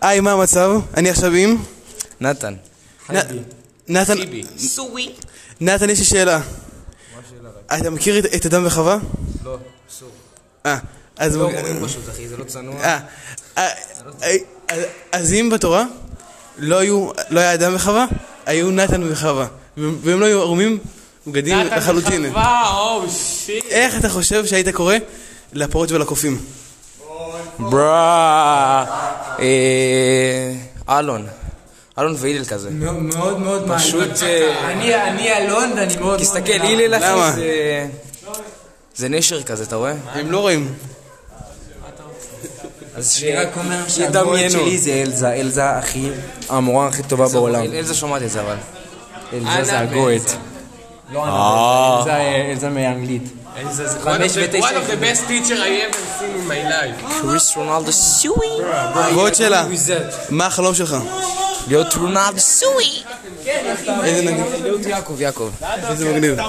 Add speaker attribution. Speaker 1: היי, מה המצב? אני עכשיו עם...
Speaker 2: נתן.
Speaker 1: נ- נתן,
Speaker 2: סווי.
Speaker 1: נתן, יש לי שאלה. מה השאלה? אתה מכיר את- את אדם וחווה?
Speaker 2: לא, אסור.
Speaker 1: אה, אז...
Speaker 2: לא אומרים פשוט, אחי, זה לא צנוע.
Speaker 1: אה, אה, אה, אז אם בתורה לא היו, לא היה אדם וחווה, היו נתן וחווה. והם והם לא היו ערומים בגדים לחלוטין.
Speaker 3: וואו, שיט.
Speaker 1: איך אתה חושב שהיית קורא לפרות ולקופים?
Speaker 2: ברא. אה, אלון. אלון והילל כזה.
Speaker 3: מאוד מאוד מעניין.
Speaker 2: פשוט, אה,
Speaker 3: אני אני אלון ואני מאוד...
Speaker 2: תסתכל,
Speaker 3: מאוד
Speaker 2: הלל
Speaker 1: למה?
Speaker 2: אחי, זה... זה נשר כזה, אתה רואה?
Speaker 1: הם לא רואים.
Speaker 2: אז
Speaker 3: אני רק אומר שהגולד שלי זה אלזה, אלזה הכי, המורה הכי טובה בעולם.
Speaker 2: בעולם. אלזה שומעת את זה, אבל.
Speaker 3: אלזה זה הגולד. לא
Speaker 2: אה.
Speaker 3: אלזה, אלזה, אלזה מאנגלית. חמש ותשע
Speaker 4: One of the best teacher I ever seen in my life.
Speaker 2: קריס רונלדו סווי.
Speaker 1: ועוד שאלה, מה החלום שלך?
Speaker 2: להיות רונלדו סווי.
Speaker 1: איזה נגיד?
Speaker 2: יעקב, יעקב.
Speaker 1: איזה מגניב.